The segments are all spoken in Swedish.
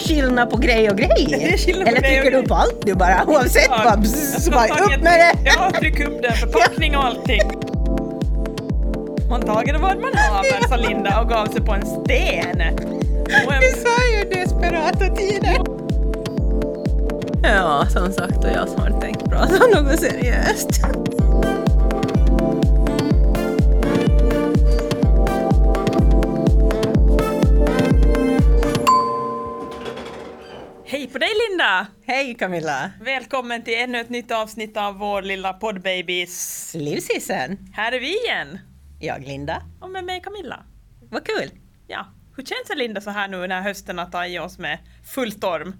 chilla på grej och grej? Chilla på Eller grej och trycker du grej. på allt nu bara? Oavsett Ja, bara, bzz, jag bara tar upp tag i- med det! Ja, tryck upp den, förpackning och allting. Man tager vad man haver, sa Linda och gav sig på en sten. Och en Du sa ju desperata tider! Ja, som sagt, och jag som har tänkt prata om något seriöst. Hej på dig Linda! Hej Camilla! Välkommen till ännu ett nytt avsnitt av vår lilla poddbabys. Livsisen! Här är vi igen! Jag Linda. Och med mig Camilla. Vad kul! Ja, hur känns det Linda så här nu när hösten har tagit oss med full storm?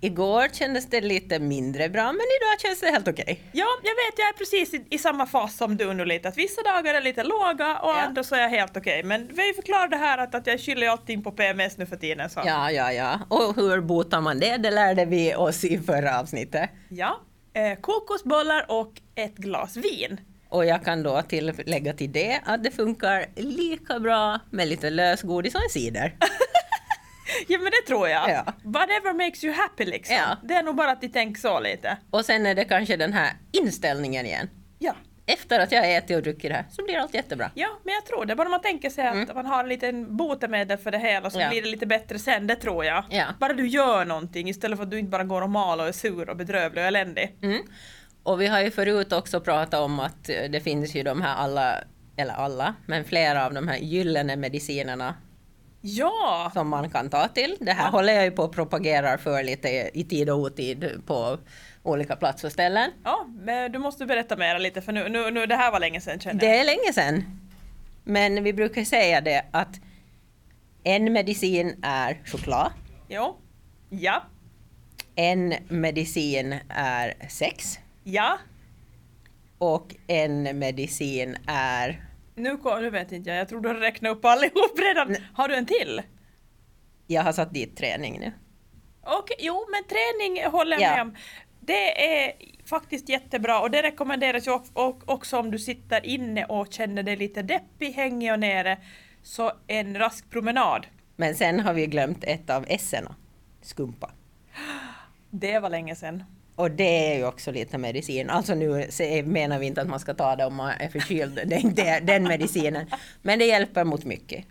Igår kändes det lite mindre bra, men idag känns det helt okej. Ja, jag vet, jag är precis i, i samma fas som du nu lite. Att vissa dagar är lite låga och Ja. andra så är jag helt okej. Men vi förklarade här att, att jag skyller ju allting på PMS nu för tiden. Så. Ja, ja, ja. Och hur botar man det? Det lärde vi oss i förra avsnittet. Ja, eh, kokosbollar och ett glas vin. Och jag kan då tillägga till det att det funkar lika bra med lite lösgodis och en cider. Ja men det tror jag. Ja. Whatever makes you happy liksom. Ja. Det är nog bara att ni tänker så lite. Och sen är det kanske den här inställningen igen. Ja. Efter att jag har ätit och druckit det här så blir allt jättebra. ja, men jag tror det. Bara man tänker sig att man har en liten botemedel för det hela så Mm. Ja. blir det lite bättre sen, det tror jag. Ja. Bara du gör någonting istället för att du inte bara går och mal och är sur och bedrövlig och eländig. Mm. Och vi har ju förut också pratat om att eh, det finns ju de här alla, eller alla, men flera av de här gyllene medicinerna Ja! som man kan ta till. Det här Ja. håller jag ju på och propagerar för lite i tid och otid på olika platser och ställen. Ja, men du måste berätta mer lite för nu, nu, nu det här var länge sedan känner jag. Det är länge sedan. Men vi brukar säga det att en medicin är choklad, Jo. Ja. en medicin är sex Ja. och en medicin är... Nu, kom, nu vet inte jag, jag tror du har räknat upp allihop redan. Har du en till? Jag har satt dit träning nu. Okej, jo men träning håller jag Ja. med om. Det är faktiskt jättebra och det rekommenderas ju ock- och- också om du sitter inne och känner dig lite deppig, hängig och nere. Så en rask promenad. Men sen har vi glömt ett av esserna, skumpa. Det var länge sedan. Och det är ju också lite medicin. Alltså nu se- menar vi inte att man ska ta det om man är förkyld, det är inte den medicinen. Men det hjälper mot mycket.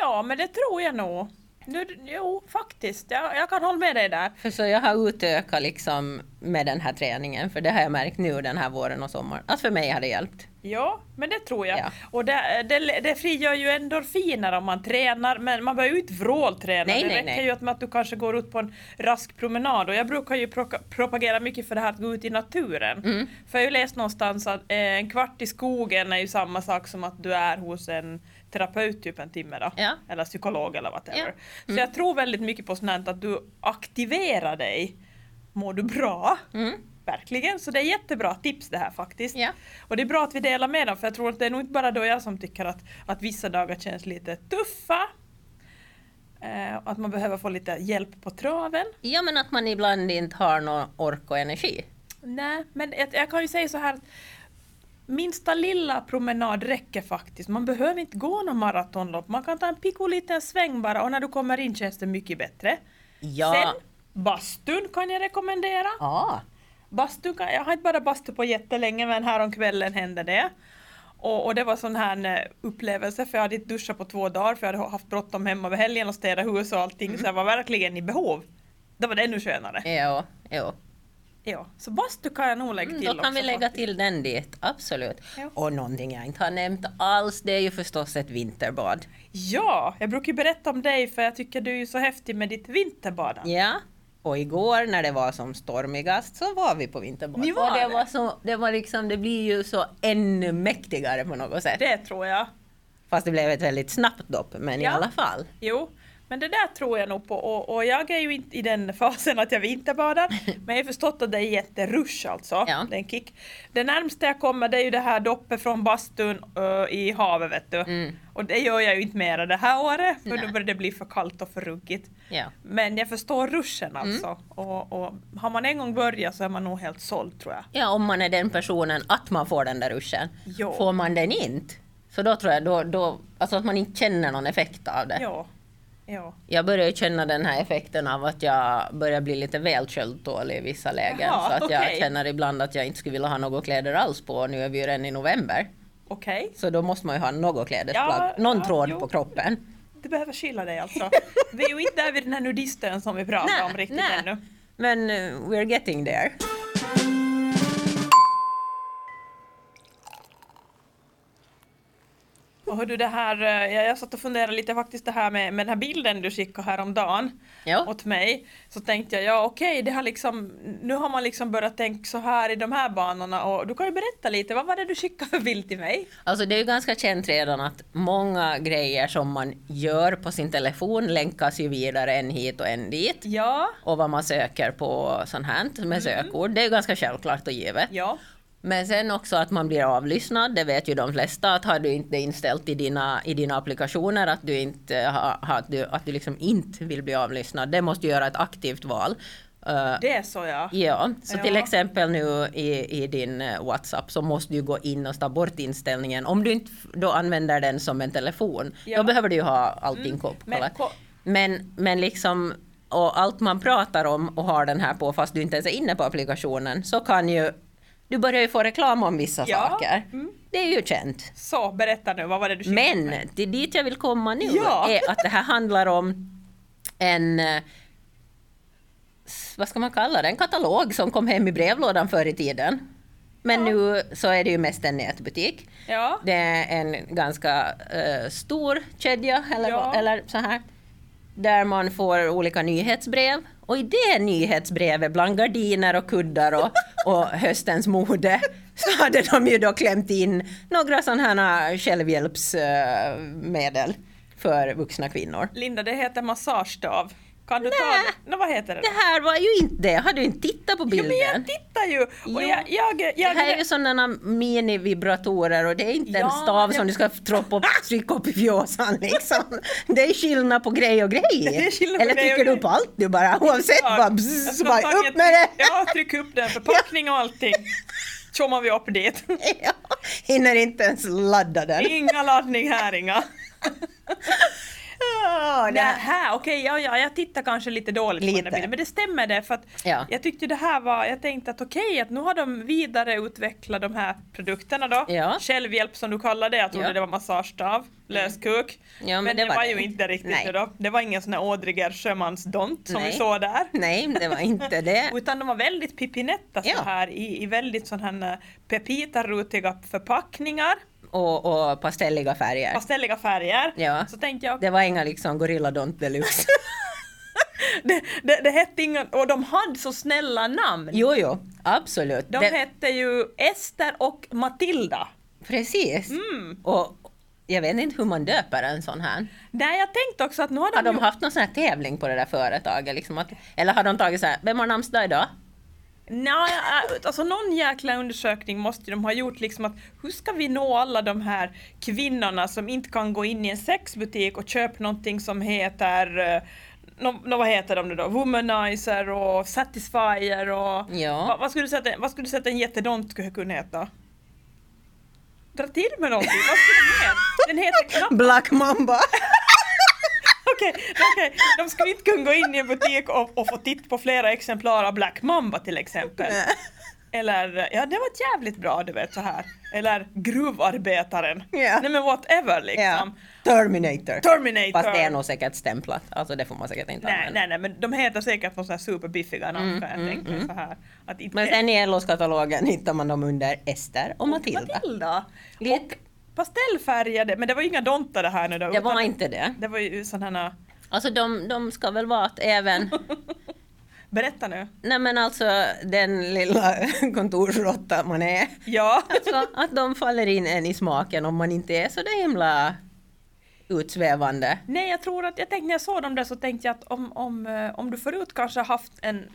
Ja, men det tror jag nog. Nu, jo, faktiskt. Jag, jag kan hålla med dig där. För så jag har utökat liksom med den här träningen, för det har jag märkt nu den här våren och sommaren, att för mig har det hjälpt. Ja, men det tror jag. Ja. Och det, det, det frigör ju endorfiner om man tränar, men man behöver ju inte vrålträna. Nej, det nej, räcker nej. ju att, med att du kanske går ut på en rask promenad. Och jag brukar ju proka- propagera mycket för det här att gå ut i naturen. Mm. För jag har ju läst någonstans att eh, en kvart i skogen är ju samma sak som att du är hos en terapeut typ en timme då. Ja. Eller psykolog eller whatever. Ja. Mm. Så jag tror väldigt mycket på sånt här att du aktiverar dig. Mår du bra? Mm. Verkligen, så det är jättebra tips det här faktiskt. Ja. Och det är bra att vi delar med dem för jag tror att det är nog inte bara du och jag som tycker att, att vissa dagar känns lite tuffa. Eh, och att man behöver få lite hjälp på traven. Ja men att man ibland inte har någon ork och energi. Nej, men jag, jag kan ju säga så här att minsta lilla promenad räcker faktiskt. Man behöver inte gå någon maratonlopp. Man kan ta en pico liten sväng bara och när du kommer in känns det mycket bättre. Ja. Sen bastun kan jag rekommendera. Ja. Bastu, kan- jag har inte badat bastu på jättelänge men härom kvällen hände det. Och, och det var sån här eh, upplevelse för jag hade inte duschat på två dagar för jag hade haft bråttom hemma över helgen och städa hus och allting Mm. så jag var verkligen i behov. Då var det ännu skönare. Jo, jo. Ja. Så bastu kan jag nog lägga till Mm, då kan också vi lägga faktiskt. till den dit, absolut. Ja. Och någonting jag inte har nämnt alls, det är ju förstås ett vinterbad. Ja, jag brukar ju berätta om dig för jag tycker du är ju så häftig med ditt vinterbadande. Ja. Och igår när det var som stormigast så var vi på vinterbad. Ni var och det, det? var så, det var liksom, det blir ju så ännu mäktigare på något sätt. Det tror jag. Fast det blev ett väldigt snabbt dopp, men i Ja. alla fall. Jo, men det där tror jag nog på och, och jag är ju inte i den fasen att jag vinterbadar. Men jag har förstått att det är jätterush alltså. Ja. Det är en kick. Det närmsta jag kommer det är ju det här doppet från bastun ö, i havet vet du. Mm. Och det gör jag ju inte mera det här året för Nej. då börjar det bli för kallt och för ruggigt. Ja. Men jag förstår Mm. ruschen alltså. Och, och har man en gång börjat så är man nog helt såld tror jag. ja, om man är den personen att man får den där ruschen. Ja. Får man den inte, så då tror jag då, då, alltså att man inte känner någon effekt av det. Ja. Ja. Jag börjar ju känna den här effekten av att jag börjar bli lite väl köldtålig i vissa lägen. Jaha, så att jag okej. känner ibland att jag inte skulle vilja ha några kläder alls på. Och Nu är vi ju redan i november. Okej. Så då måste man ju ha något klädesplagg, Ja, någon ja, tråd jo. på kroppen. Du behöver kyla dig alltså. Vi är ju inte där vid den här nudistön som vi pratade om riktigt ännu. Men eh, we're getting there. Och hördu, det här, eh, jag, jag satt och funderade lite faktiskt det här med, med den här bilden du skickade häromdagen Ja. åt mig. Så tänkte jag, ja okej, det har liksom, nu har man liksom börjat tänka så här i de här banorna och du kan ju berätta lite, vad var det du skickade för bild till mig? Alltså det är ju ganska känt redan att många grejer som man gör på sin telefon länkas ju vidare en hit och en dit. Ja, Och vad man söker på sånt här med sökord, det är ju ganska självklart och givet. ja, Men sen också att man blir avlyssnad, det vet ju de flesta att har du inte inställt i dina, i dina applikationer att du, inte, ha, ha- att, du, att du liksom inte vill bli avlyssnad, det måste du göra ett aktivt val. Eh, det är så ja. Ja, så Ja. till exempel nu i, i din eh, WhatsApp så måste du gå in och ta bort inställningen om du inte f- då använder den som en telefon. Ja. Då behöver du ju ha allting mm. men kollat. ko- Men, men liksom och allt man pratar om och har den här på fast du inte ens är inne på applikationen så kan ju du börjar ju få reklam om vissa Ja, saker. mm. Det är ju känt. Så, berätta nu, vad var det du skickade till Men mig? det är dit jag vill komma nu Ja. är att det här handlar om en eh, s- vad ska man kalla det, en katalog som kom hem i brevlådan förr i tiden. Men nu så är det ju mest en nätbutik. Ja, Det är en ganska eh, stor kedja eller, Ja. eller så här. Där man får olika nyhetsbrev. Och i det nyhetsbrevet bland gardiner och kuddar och, och höstens mode så hade de ju då klämt in några sådana här eh, självhjälpsmedel för vuxna kvinnor. Linda det heter massagestav. Kan du ta det? Nå, vad heter det? Det här var ju inte det, har du inte tittat på Ja, men jag bilden? tittar ju! Jo. Och jag, jag, jag, Det här är ju sådana mini-vibratorer och det är inte en Ja, stav det- som du ska troppa upp, trycka upp i fjåsan liksom. Det är skillnad på grej och Det grej. är skillnad på Eller grej trycker och du grej. upp allt du bara oavsett Ja, vad, jag bzz, ska bara ta upp ett- med det. Ja, tryck upp den, förpackning och allting. Tjommar vi upp dit. Ja, hinner inte ens ladda den. Inga laddning här inga. Ja, det här- Nähä, okej, ja, ja, jag tittar kanske lite dåligt på Lite. den här bilden, men det stämmer det för att Ja. jag tyckte det här var, jag tänkte att okej, att nu har de vidareutvecklat de här produkterna då. Ja. Självhjälp som du kallade det, jag trodde Ja, det var massagestav, löskuk. Ja, men men det det var var det ju inte. inte riktigt Nej. det då. Det var ingen sån här ådriger sjömansdont som vi Nej. såg där. Nej, det var inte det. Utan de var väldigt pipinetta så Eh. Ja. här i, i väldigt sån här eh, pepita-rutiga förpackningar, Och, och pastelliga färger. pastelliga färger. Ja. Så tänkte jag, Det var inga liksom gorilladont deluxe. det, det, det hette ingen, och de hade så snälla namn. Jo, jo, absolut. De Det- hette ju Ester och Matilda. Precis. Mm. Och jag vet inte hur man döper en sån här. Nej, jag tänkte också att nu har de, Har de gjort- haft någon sån här tävling på det där företaget? Liksom att, eller har de tagit så här, vem har namnsdag idag? Nej, jag- alltså någon jäkla undersökning måste ju de ha gjort liksom att hur ska vi nå alla de här kvinnorna som inte kan gå in i en sexbutik och köpa någonting som heter eh, nå nå, vad heter de nu då? Womanizer och Satisfyer och... Ja. Va, vad, skulle du säga att, en- vad skulle du säga att en jättedont skulle kunna heta? Dra till med någonting, vad skulle den heta? Den heter knappt... Black Mamba! Okej, okej. de skulle inte kunna gå in i en butik och, och få titt på flera exemplar av Black Mamba till exempel. Eller, ja det var ett jävligt bra du vet så här. Eller gruvarbetaren. Ja. Nej men whatever liksom. Ja. Terminator. Terminator. Fast det är nog säkert stämplat, alltså det får man säkert inte Nej, använda. nej, nej, men de heter säkert någon sån här superbiffiga namn kan jag tänka mig så här. Att inte- Mm, Men sen i LOs-katalogen hittar man dem under Ester och Matilda. Matilda. Lite- Pastellfärgade, men det var ju inga dontar det här nu då. Det utan var inte det. det var ju sådana, Alltså de, de ska väl vara att även berätta nu. Nej men alltså den lilla kontorsråtta man är. Ja. Alltså att de faller in en i smaken om man inte är så där himla utsvävande. Nej, jag tror att jag tänkte när jag såg dem där så tänkte jag att om, om, eh, om du förut kanske har haft en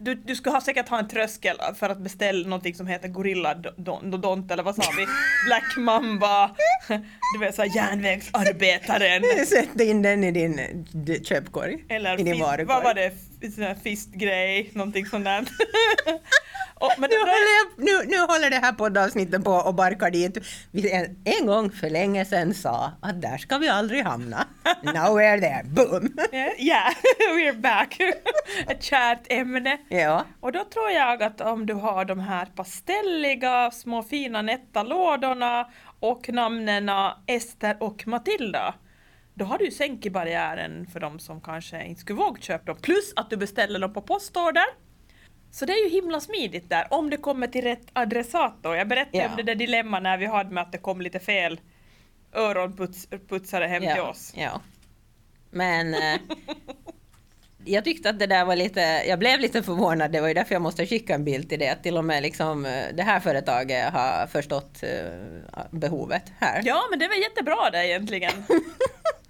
du, du skulle ha säkert ha en tröskel för att beställa någonting som heter gorilladont eller vad sa vi? Black mamba, du vet såhär järnvägsarbetaren. Sätt in den i din eh, d- köpkorg. Eller I din fist, vad var eh, varukorg. det? F- sån här Fistgrej, någonting sånt där. Och, men Nu då, håller, jag, nu, nu håller det här poddavsnittet på och barkar dit. Vi en, en gång för länge sedan sa att där ska vi aldrig hamna. Now we're there, boom! yeah, we're back. Ett kärt ämne. Ja, Och då tror jag att om du har de här pastelliga, små fina nätta lådorna och namnen Ester och Matilda. Då har du ju sänkt barriären för de som kanske inte skulle våga köpa dem. Plus att du beställer dem på postorder. Så det är ju himla smidigt där, om det kommer till rätt adressat då. Jag berättade Ja. om det där dilemma när vi hade med att det kom lite fel öronputsare hem till ja, oss. ja. Men eh, jag tyckte att det där var lite, jag blev lite förvånad, det var ju därför jag måste skicka en bild till det, att till och med liksom, eh, det här företaget har förstått eh, behovet här. Ja, men det var jättebra det egentligen.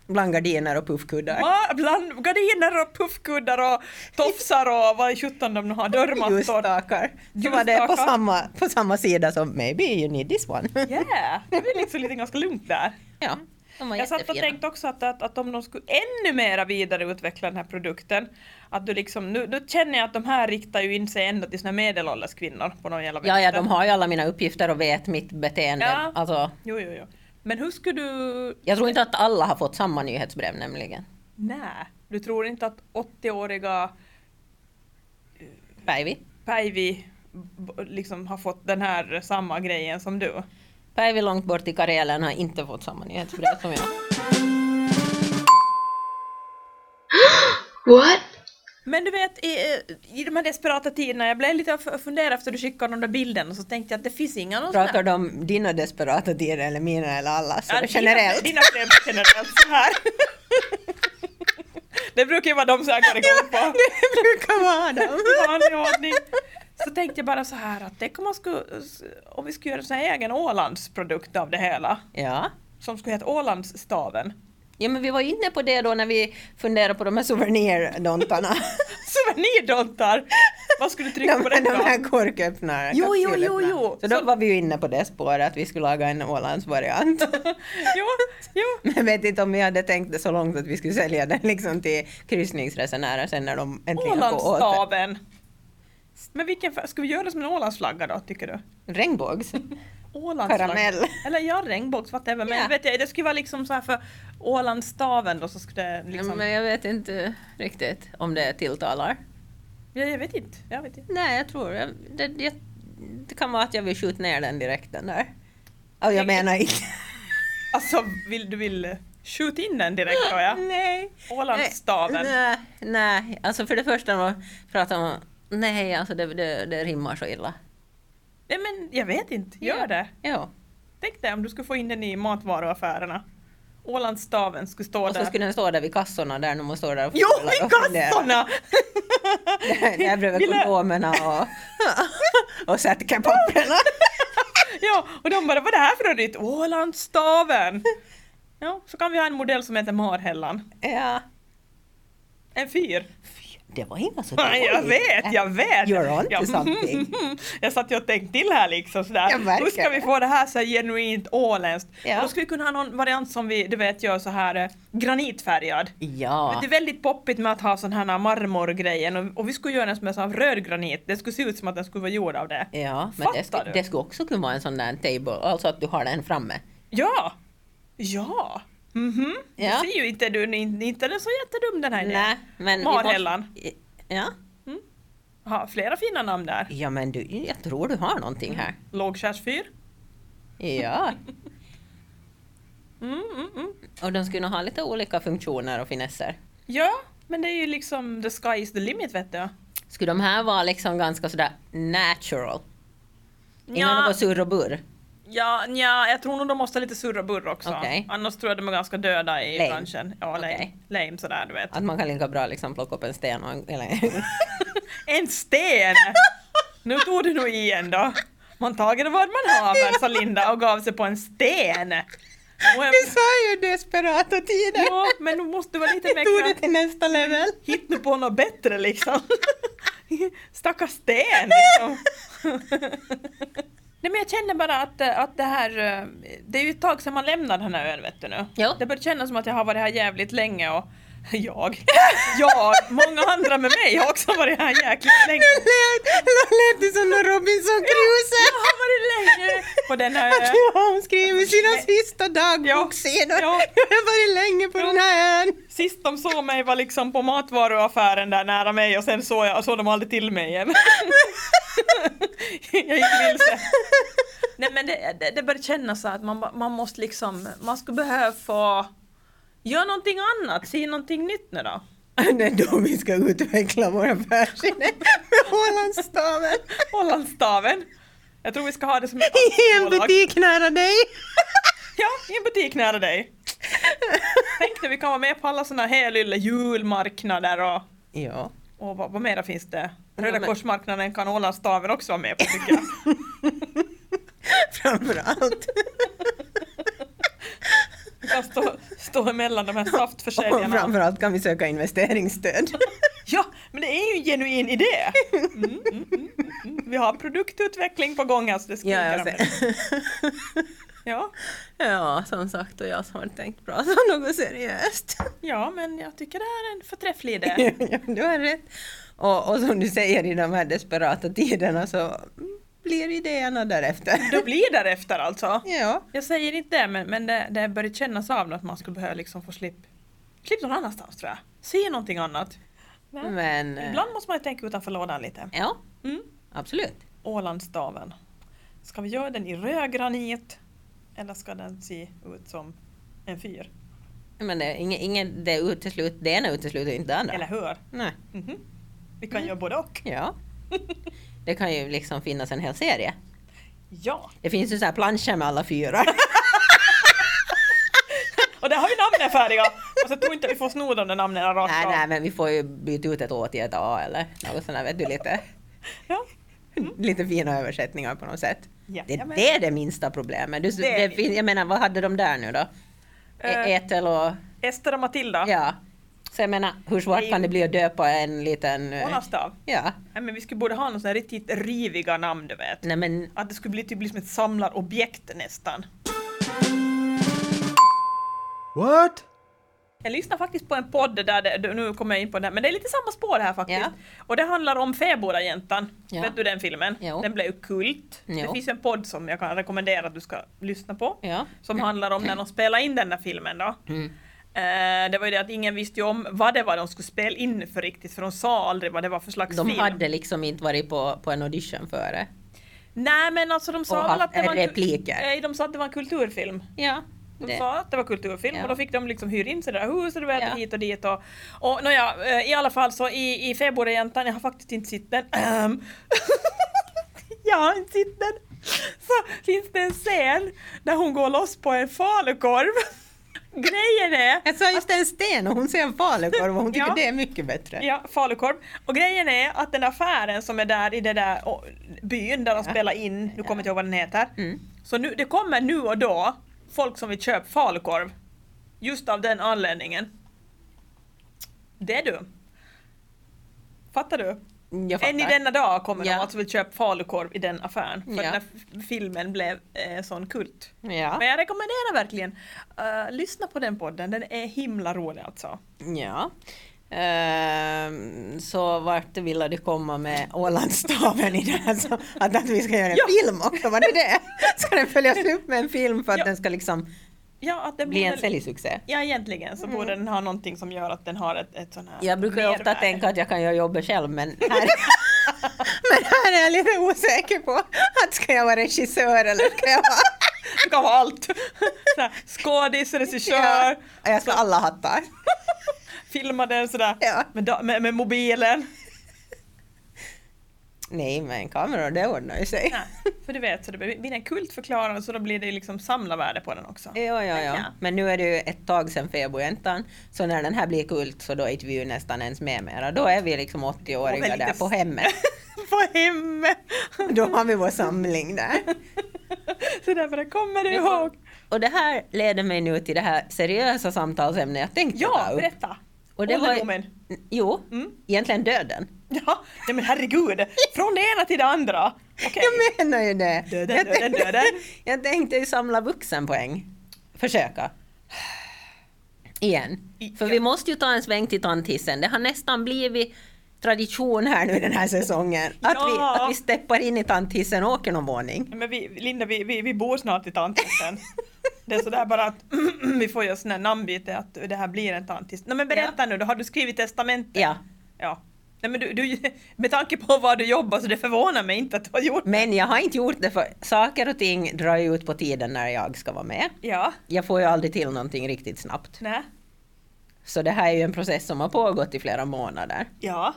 Bland gardiner och puffkuddar. Ma- bland gardiner och puffkuddar och tofsar och vad i sjutton de nu har, dörrmattor. Ljusstakar. Så var det på Ljusstakar. samma, på samma sida som maybe you need this one. Yeah, det blir liksom lite ganska lugnt där. Ja, de var Jag satt och jättefina. tänkte också att, att, att om de skulle ännu mera vidareutveckla den här produkten, att du liksom, nu, nu känner jag att de här riktar ju in sig ändå till såna medelålders kvinnor på någon jävla Ja, ja, vänster. de har ju alla mina uppgifter och vet mitt beteende. Ja. Alltså, Jo, jo, jo. Men hur skulle du... jag tror inte att alla har fått samma nyhetsbrev nämligen. Nej, du tror inte att 80-åriga Päivi. Päivi b- liksom har fått den här samma grejen som du? Päivi långt bort i Karelen har inte fått samma nyhetsbrev som jag. What? Men du vet, i, i de här desperata tiderna, jag blev lite funderad efter du skickade de där bilden och så tänkte jag att det finns inga någon sån här- Pratar de om dina desperata tider eller mina eller alla? Så Ja, generellt. Dina, dina blev generellt så här. det brukar ju vara de som jag går igång på. Det brukar vara dem. I vanlig ordning. Så tänkte jag bara så här att tänk om, man skulle, om vi skulle göra en sån här egen Ålandsprodukt av det hela. Ja. Som skulle heta Ålandsstaven. ja, men vi var ju inne på det då när vi funderade på de här souvenirdontarna. Souvenirdontar! Vad skulle du trycka De, på den de då? här korköppnarna. Jo, jo, jo, kapsylöppnarna. jo. Så då Så- var vi ju inne på det spåret, att vi skulle laga en Ålandsvariant. Jo, jo. Men jag vet inte om vi hade tänkt det så långt att vi skulle sälja den liksom till kryssningsresenärer sen när de äntligen får åter... Ålandsstaven! Men vilken färg, ska vi göra det som en Ålandsflagga då, tycker du? Regnbågs. Ålandsflagga. Karamell. Eller ja, regnbågs, whatever. Men Ja. vet jag, det skulle vara liksom så här för Ålandsstaven då så skulle det liksom... Men jag vet inte riktigt om det tilltalar. Jag, jag vet inte. Jag vet inte. Nej, jag tror jag, det, det, det kan vara att jag vill skjuta ner den direkt den där. Och jag menar inte... Alltså, vill, du vill eh, skjuta in den direkt då ja? Nej. Ålandsstaven. Nej, nej, alltså för det första man pratar om... Nej, alltså det, det, det rimmar så illa. Nej men jag vet inte, gör det. Ja. Tänk dig om du skulle få in den i matvaruaffärerna. Ålandsstaven skulle stå Och där. så skulle den stå där vid kassorna där när man står där och Jo, fumlar i och funderar. kassorna! Där, där bredvid Vill jag- kondomerna och, och sättkepapperna. Ja, och de bara, vad är det här för något nytt? Ålandsstaven! Ja, så kan vi ha en modell som heter Marhällan. Ja. En fyr. Det var inte så Nej, jag dåligt. vet, jag vet! You're on to Ja, something. jag satt ju och tänkte till här liksom sådär. Jag märker Hur ska vi det. få det här så här genuint åländskt? Ja. Och Då skulle vi kunna ha någon variant som vi, du vet, gör så här eh, granitfärgad. Ja. Det är väldigt poppigt med att ha sån här marmorgrejen och, och vi skulle göra den som är sån här röd granit. Det skulle se ut som att den skulle vara gjord av det. Ja, men det, Fattar sk- du? det skulle också kunna vara en sån där table, alltså att du har den framme. Ja! Ja! Mhm. Ja. Du ser ju inte du, ni- inte den så jättedum den här idén. Nej, men vi Marhällan. måste- Ja. Ha, flera fina namn där. ja, men du, jag tror du har någonting här. Lågkärsfyr. Ja, Mm, mm, mm. och de skulle nog ha lite olika funktioner och finesser. Ja, men det är ju liksom the sky is the limit vet du. Skulle de här vara liksom ganska sådär natural? Innan Nja. det var surr och burr? Ja, ja, jag tror nog de måste ha lite surr och burr också. Okej. Annars tror jag de är ganska döda i Lame. branschen. Ja, lame. Okej. lame sådär du vet. Att man kan lika bra liksom plocka upp en sten och en, eller En sten! nu tog du nog i ändå. Man tager vad man haver, sa Linda och gav sig på en sten. Och jag, Du sa ju desperata tider! ja, men nu måste du vara lite Jag tog mer det kraft. till nästa level. Hitt nu på något bättre liksom. Stackars sten liksom. Nej men jag känner bara att, eh, att det här, eh, det är ju ett tag sedan man lämnade den här ön vet du nu. Ja. Det börjar kännas som att jag har varit här jävligt länge och Jag. Jag. Många andra med mig har också varit här jäkligt länge. Nu lät det som när Robinson Crusoe! Jag har varit länge på den här Att ön. du har skrivit sina sista dagbokssidor. Ja. Du har varit länge på den här ön. Sist de såg mig var liksom på matvaruaffären där nära mig och sen såg, jag, såg de aldrig till mig igen. jag gick vilse. Nej men det, det, det började kännas så att man, ba- man måste liksom, man skulle behöva få göra någonting annat, se någonting nytt nu då. Det är då vi ska utveckla våra affärsidé med Ålandsstaven. Hollandstaven. Jag tror vi ska ha det som ett I en aktiebolag. butik nära dig. Ja, i en butik nära dig. Tänk dig, vi kan vara med på alla såna här lilla julmarknader och, Ja. och vad, vad mera finns det? Röda Ja, men- korsmarknaden kan Ålandsstaven också vara med på tycker jag. Framförallt. Vi kan stå, stå emellan de här Och saftförsäljarna. framförallt kan vi söka investeringsstöd. Ja, men det är ju en genuin idé! Mm, mm, mm, mm, mm. Vi har produktutveckling på gång alltså, det skriker om det. ja, ja, som sagt, och jag som har tänkt prata om något seriöst. ja, men jag tycker det här är en förträfflig idé. ja, du har rätt. Och, och som du säger i de här desperata tiderna så blir idéerna därefter. Då blir därefter alltså. Ja. Jag säger inte det, men, men det, det börjar kännas av att man skulle behöva liksom få slipp. Klipp någon annanstans tror jag. Se någonting annat. Men... eh, Ibland måste man ju tänka utanför lådan lite. Ja, Mm. absolut. Ålandsstaven. Ska vi göra den i röd granit? Eller ska den se ut som en fyr? Men det, ingen, ingen, det, uteslut, det ena utesluter ju inte det andra. Eller hur? Nej. Mm. Mhm. Vi kan göra både och. Ja. Det kan ju liksom finnas en hel serie. Ja! Det finns ju så här planscher med alla fyra. Och där har vi namnen färdiga! Och så tror inte vi får sno de där namnen rakt nej, av. nej, men vi får ju byta ut ett Å till ett A eller något sånt där, vet du, lite, Ja. lite fina översättningar på något sätt. Mm. Ja, Det, men- det är det minsta problemet. Du, Det är det, fin- jag menar, vad hade de där nu då? Eh, E- Ethel och... Ester och Matilda. Ja. Så jag menar, hur Det är svårt ju- kan det bli att döpa en liten... eh, Ålandsstav. Ja. Nej men vi skulle borde ha någon sån här riktigt riviga namn du vet. Nej men Att det skulle bli typ liksom ett samlarobjekt nästan. What? Jag lyssnar faktiskt på en podd där, det, nu kommer jag in på den här, men det är lite samma spår här faktiskt. Ja. Och det handlar om Fäbodajäntan. Ja. Vet du den filmen? Jo. Den blev ju kult. Det Jo. finns en podd som jag kan rekommendera att du ska lyssna på. Ja. Som handlar om när de spelade in den här filmen då. Mm. Eh, det var ju det att ingen visste ju om vad det var de skulle spela in för riktigt, för de sa aldrig vad det var för slags de film. hade liksom inte varit på, på en audition före. Nej men alltså de Och sa väl haft att det var en kul- repliker. Nej, de sa att det var en kulturfilm. Ja. De Det. sa att det var kulturfilm Ja. och då fick de liksom hyra in sig i det där huset och Ja. ja. hit och dit och, och nåja, eh, i alla fall så i, i Fäbodjäntan, jag har faktiskt inte sett den. Ehm. jag har inte sett den. Så finns det en scen där hon går loss på en falukorv. Grejen är Jag sa just en sten och hon ser en falukorv och hon tycker Ja. det är mycket bättre. Ja, falukorv. Och grejen är att den affären som är där i den där å, byn där de spelar in, nu kommer jag inte ihåg vad den heter. Mm. Så nu, det kommer nu och då folk som vill köpa falukorv. Just av den anledningen. Det är du. Fattar du? Jag fattar. Än i denna dag kommer Ja. de alltså vill köpa falukorv i den affären. För Ja. den här f- filmen blev eh, sån kult. Men Ja. jag rekommenderar verkligen, eh, lyssna på den podden, den är himla rolig alltså. ja. Ehm, så vart ville du komma med Ålandsstaven i det här? Så att, att vi ska göra en Ja. film också, var det det? Ska den följas upp med en film för att Ja. den ska liksom Ja, att det bli blir en väl- säljsuccé? Ja, egentligen så borde den ha någonting som gör att den har ett, ett sån här Jag brukar ju ofta mervärde. tänka att jag kan göra jobbet själv men här, men här är jag lite osäker på att ska jag vara regissör eller ska jag vara... Du kan vara allt! Så här, Skådis, regissör, Ja, jag ska ha alla hattar. filma den sådär Ja. med, da- med, med mobilen. Nej men kameror det ordnar ju sig. Nej, för du vet, så det blir blir den kultförklarande så då blir det liksom samlarvärde på den också. Ja, ja, ja. Ja. Men nu är det ju ett tag sedan Fäbodjäntan, så när den här blir kult så då är inte vi ju nästan ens med mera. Då är vi liksom 80-åriga Och väldigt- där på hemmet. På hemmet! Då har vi vår samling där. Så därför kommer du ihåg. Och det här leder mig nu till det här seriösa samtalsämnet jag tänkte Ja, ta upp. berätta! Och det var- Ålderdomen. Jo, Mm. egentligen döden. Ja, nej men herregud! Från det ena till det andra! Okej. Jag menar ju det. Döden, jag, döden, tänkte, döden. jag tänkte ju samla vuxenpoäng. Försöka. igen. I- För ja. vi måste ju ta en sväng till tanthissen. Det har nästan blivit tradition här nu den här säsongen. Att, Ja. vi, att vi steppar in i tanthissen och åker någon våning. Men vi, Linda, vi, vi, vi bor snart i tantisen. Det är sådär bara att vi får göra sån här namnbyte att det här blir en tantis. Nej men berätta nu då, har du skrivit testamentet? Ja. Ja. Nej men du, du, med tanke på var du jobbar så det förvånar mig inte att du har gjort det. Men jag har inte gjort det för saker och ting drar ju ut på tiden när jag ska vara med. Ja. Jag får ju aldrig till någonting riktigt snabbt. Nej. Så det här är ju en process som har pågått i flera månader. Ja.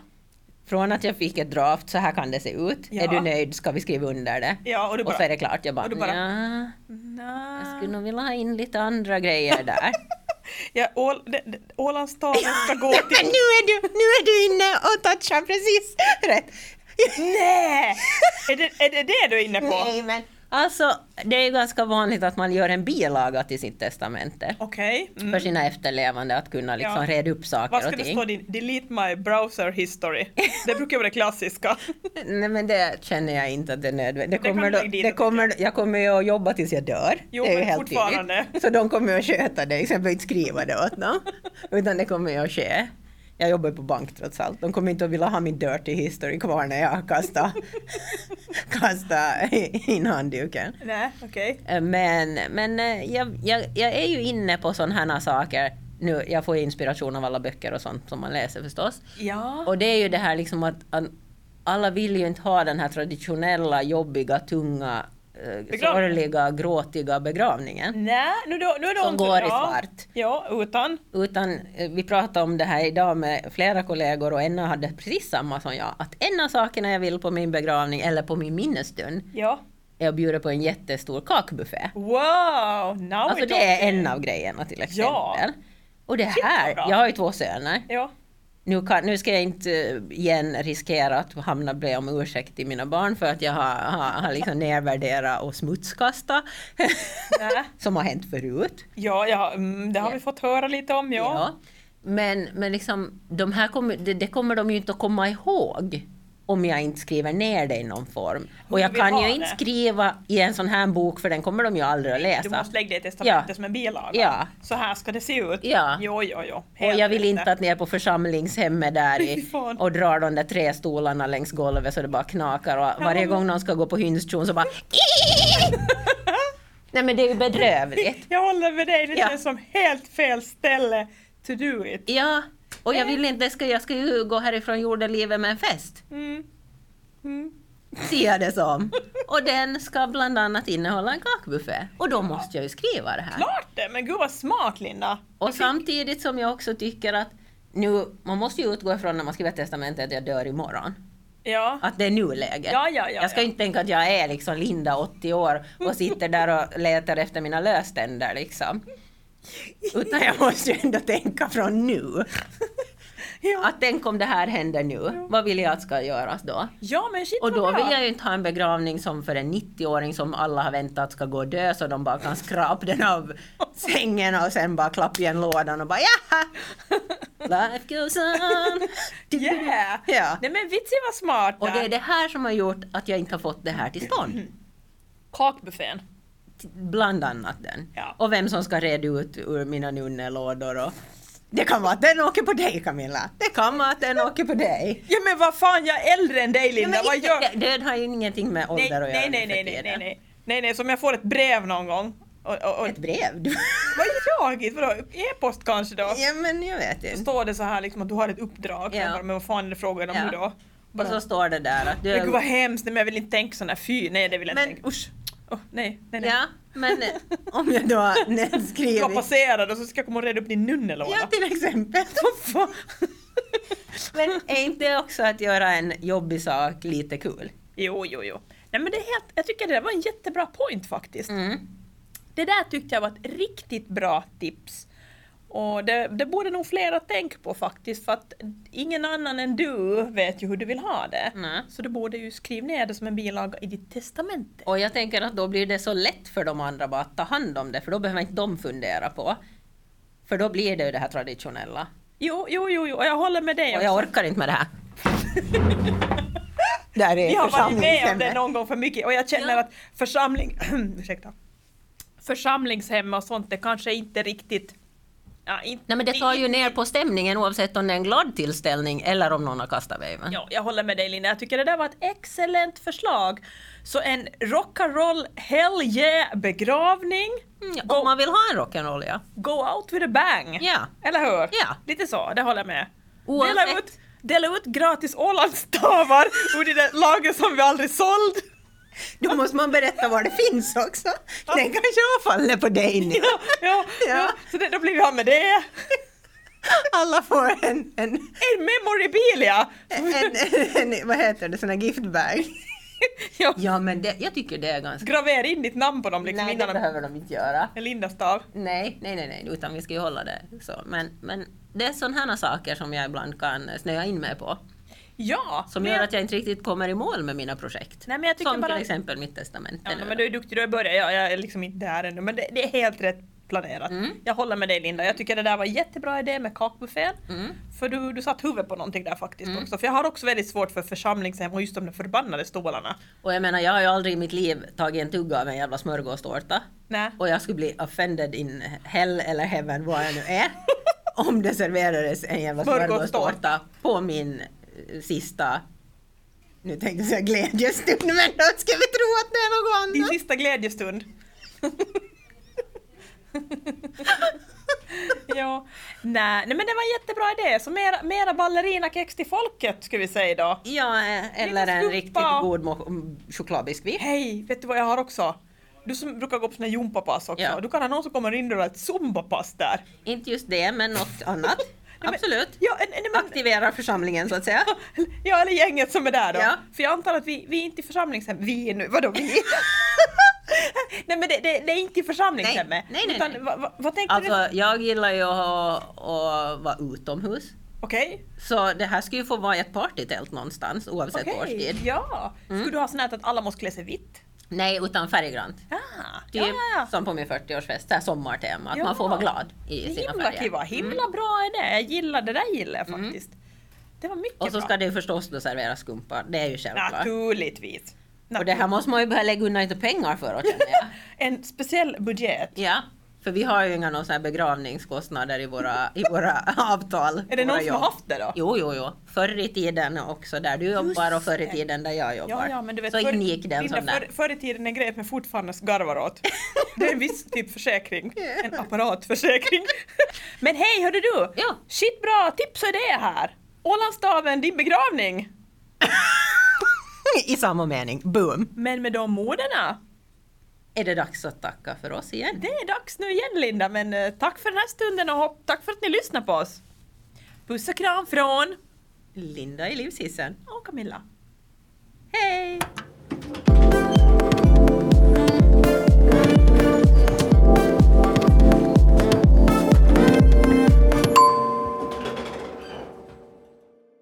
Från att jag fick ett draft, så här kan det se ut. Ja. Är du nöjd? Ska vi skriva under det? Ja, och du och bara... så är det klart. Jag bara, och du bara- "Nja, Nej. jag skulle nog vilja ha in lite andra grejer där. Ja, Ål, det- det- Ålandstalen ska gå till... Men nu är, du, nu är du inne och touchar precis rätt. Nej! Är det, är det det du är inne på? Nej, men... Alltså, det är ju ganska vanligt att man gör en bilaga till sitt testamente. Okej. Mm. För sina efterlevande att kunna liksom Ja. reda upp Vad saker ska och det ting. stå din delete my browser history? Det brukar vara det klassiska. Nej men det känner jag inte att det är nödvändigt. Det kan kommer då, du lägga dit, det tycker kommer, jag kommer ju att jobba tills jag dör. Jo, det är ju men helt fortfarande. tydligt. Så de kommer ju att sköta dig, så jag behöver inte skriva det åt dem. Utan det kommer ju att ske. Jag jobbar ju på bank trots allt. De kommer inte att vilja ha min dirty history kvar när jag kastar, kastar in handduken. Nej, okej. Men, men eh, jag, jag, jag är ju inne på sådana här saker. Nu, jag får ju inspiration av alla böcker och sånt som man läser förstås. Ja. Och det är ju det här liksom att, att alla vill ju inte ha den här traditionella, jobbiga, tunga, eh, sorgliga, gråtiga begravningen. Nej, nu, då, nu är det Som ont- går i ja. svart. Ja, utan. Utan eh, vi pratade om det här idag med flera kollegor och en hade precis samma som jag. Att en av sakerna jag vill på min begravning eller på min minnesstund Ja. är att bjuda på en jättestor kakbuffé. Wow! Now Alltså we're det är talking. en av grejerna till exempel. Oh Ja. Och det Shit, vad här, bra. jag har ju två söner. Ja. Nu, kan, nu ska jag inte eh, igen riskera att hamna be om ursäkt till mina barn för att jag har, har, har liksom nedvärderat och smutskastat Nej. som har hänt förut. Ja, ja, mm, det har vi fått höra lite om, ja. Men, men liksom, de här kommer, det, det kommer de ju inte att komma ihåg om jag inte skriver ner det i någon form. Och Hur jag vi kan har ju inte det. skriva i en sån här bok för den kommer de ju aldrig att Du läsa. måste lägga det i testamentet alltså. Ja. som en bilaga. Ja. Så här ska det se ut. Ja. Jo, jo, jo. Och jag vill rätt inte där. att ni är på församlingshemmet där Fy i, fan. och drar de där tre stolarna längs golvet så det bara knakar och varje men- gång någon ska gå på hynstjon så bara Nej men det är ju bedrövligt. Jag håller med dig, det Ja. känns som helt fel ställe to do it. Ja, och jag vill inte, ska, jag ska ju gå härifrån jordelivet med en fest. Mm. Mm. Ser jag det som. Och den ska bland annat innehålla en kakbuffé. Och då måste jag ju skriva det här. Klart det, men gud vad smart Linda! Och samtidigt som jag också tycker att nu, man måste ju utgå ifrån när man skriver testamentet att jag dör imorgon. Ja, Att det är nuläget. Ja, ja, ja, jag ska ja. inte tänka att jag är liksom Linda, 80 år, och sitter där och letar efter mina löständer liksom. Utan jag måste ju ändå tänka från nu. ja. Att tänk om det här händer nu, vad vill jag att ska göras då? ja men shit Och vad då bra! vill jag ju inte ha en begravning som för en 90-åring som alla har väntat ska gå och dö så de bara kan skrapa den av sängen och sen bara klappa igen lådan och bara jaha! Life goes on! Yeah! Ja. Nej men vitsen var smart Och det där. Mm. är det här som har gjort att jag inte har fått det här till stånd. Kakbuffén. Bland annat den. Ja. Och vem som ska reda ut ur mina nunnelådor och... Det kan vara att den åker på dig Camilla. Det kan vara att den åker på dig. Ja men vad fan, jag är äldre än dig Ja, Linda, men vad inte- gör dö- Död har ju ingenting med ålder nej, att göra nej, nej, nu för nej, nej, nej, tiden. nej, nej, nej, som jag får ett brev någon gång. Och, och, och, Ett brev? Du- vad jagigt, vadå? E-post kanske då? ja men jag vet Så inte. står det så här liksom att du har ett uppdrag, Ja. Jag bara, men vad fan är det frågan om Ja. nu då? Och Bara, så står det där att du... men gud vad hemskt, nej, men jag vill inte tänka sådär, fy, nej det vill jag Men- inte tänka, usch! Oh, nej, nej, nej. Ja, men eh, om jag då har Du var skrivit... passerad och så ska jag komma och reda upp din nunnelåda. Ja, till exempel. Men är inte det också att göra en jobbig sak lite kul? Jo, jo, jo. Nej men det är helt, jag tycker det där var en jättebra point faktiskt. Mm. Det där tyckte jag var ett riktigt bra tips. Och det, det borde nog flera tänka på faktiskt för att ingen annan än du vet ju hur du vill ha det. Nej. Så du borde ju skriva ner det som en bilaga i ditt testamente. Och jag tänker att då blir det så lätt för de andra bara att ta hand om det, för då behöver inte de fundera på. För då blir det ju det här traditionella. Jo, jo, jo, jo. och jag håller med dig. Och jag orkar inte med det här. Där är Vi har varit med om det församlingshemmet. någon gång för mycket och jag känner Ja. att församling... ursäkta. Församlingshem och sånt, det kanske inte riktigt Ja, inte, Nej men det tar ju ner på stämningen oavsett om det är en glad tillställning eller om någon har kastat väven. Ja, jag håller med dig Linda, jag tycker det där var ett excellent förslag. Så en rock'n'roll hell yeah begravning, Mm, om man vill ha en rock'n'roll ja. go out with a bang! Ja. Eller hur? Ja. Lite så, det håller jag med. Oavsett- Dela ut, dela ut gratis Ålandsstavar ur det där lager som vi aldrig såld. Då måste man berätta var det finns också. Den kanske har fallit på dig nu. Ja, ja, ja. Så det, då blir vi av med det. Alla får en, en, En memorabilia! en, en vad heter det, sån här giftbag. ja. Ja men det, jag tycker det är ganska... Gravera in ditt namn på dem liksom Nej det innan de behöver de inte göra. en Linda-stav. Nej, nej, nej, nej, utan vi ska ju hålla det så. Men, men det är sådana här saker som jag ibland kan snöa in mig på. Ja! Som men gör jag- att jag inte riktigt kommer i mål med mina projekt. Nej, men jag tycker som bara- till exempel mitt testamente Ja, nu. men du är duktig, du har börjat. Jag, jag är liksom inte där ännu, men det, det är helt rätt planerat. Mm. Jag håller med dig Linda, jag tycker det där var en jättebra idé med kakbuffén. Mm. För du, du satt huvudet på någonting där faktiskt också. För jag har också väldigt svårt för församlingshem och just de där förbannade stolarna. Och jag menar, jag har ju aldrig i mitt liv tagit en tugga av en jävla smörgåstårta. Nej. Och jag skulle bli offended in hell eller heaven, vad jag nu är, om det serverades en jävla smörgåstårta Smörgåstårta. på min eh, sista nu tänkte jag säga glädjestund, men då ska vi tro att det är något Din annat. sista glädjestund. ja. Nej, nej men det var en jättebra idé. Så mera, mera ballerinakex till folket skulle vi säga då. Ja, eh, eller Lite en skumpa. riktigt god mo- mm, chokladbiskvi. Hej, vet du vad jag har också? Du som brukar gå på såna här gympapass också. Ja. Du kan ha någon som kommer in och har ett zumbapass där. Inte just det, men något annat. men- Absolut. Ja, en- en- men, Aktivera församlingen så att säga. ja, eller gänget som är där då. Ja. För jag antar att vi, vi är inte i församlingshem. Vi är nu, vadå vi? nej men det, det, det är inte i församlingshemmet. Nej, nej, nej, Utan nej. va- va- vad tänkte du? Alltså, jag gillar ju att, att vara utomhus. Okej. Så det här ska ju få vara ett partytält någonstans oavsett Okej, årstid. ja. Mm. Skulle du ha sån här att alla måste klä sig vitt? Nej, utan färggrant. Ah, Typ ja, ja, ja. som på min 40-årsfest, så här sommartema, att Ja. man får vara glad i sina Himla färger. Mm. kiva, himla bra idé. Jag gillar det där gillar jag faktiskt. Det var mycket Och så bra. ska det ju förstås då serveras skumpa, det är ju självklart. Naturligtvis. Och det här måste man ju börja lägga undan lite pengar för åt, känner jag. En speciell budget. Ja, för vi har ju inga någon sån här begravningskostnader i våra, i våra avtal. Är det våra någon som jobb. har haft det då? Jo, jo, jo. Förr i tiden också där du jobbar och förr i det. tiden där jag jobbar. Ja, ja, men du vet, så förr- ingick den Linda, sån där. Förr, förr i tiden är grejen men fortfarande garvar åt. Det är en viss typ försäkring. En apparatförsäkring. Men hej, hörde du! Ja. Shit bra tips och idé här! Ålandsstaven, din begravning! I samma mening, boom! Men med de orden Är det dags att tacka för oss igen? Det är dags nu igen Linda, men eh, tack för den här stunden och hopp, tack för att ni lyssnar på oss. Puss och kram från Linda i livshissen. och Camilla. Hej!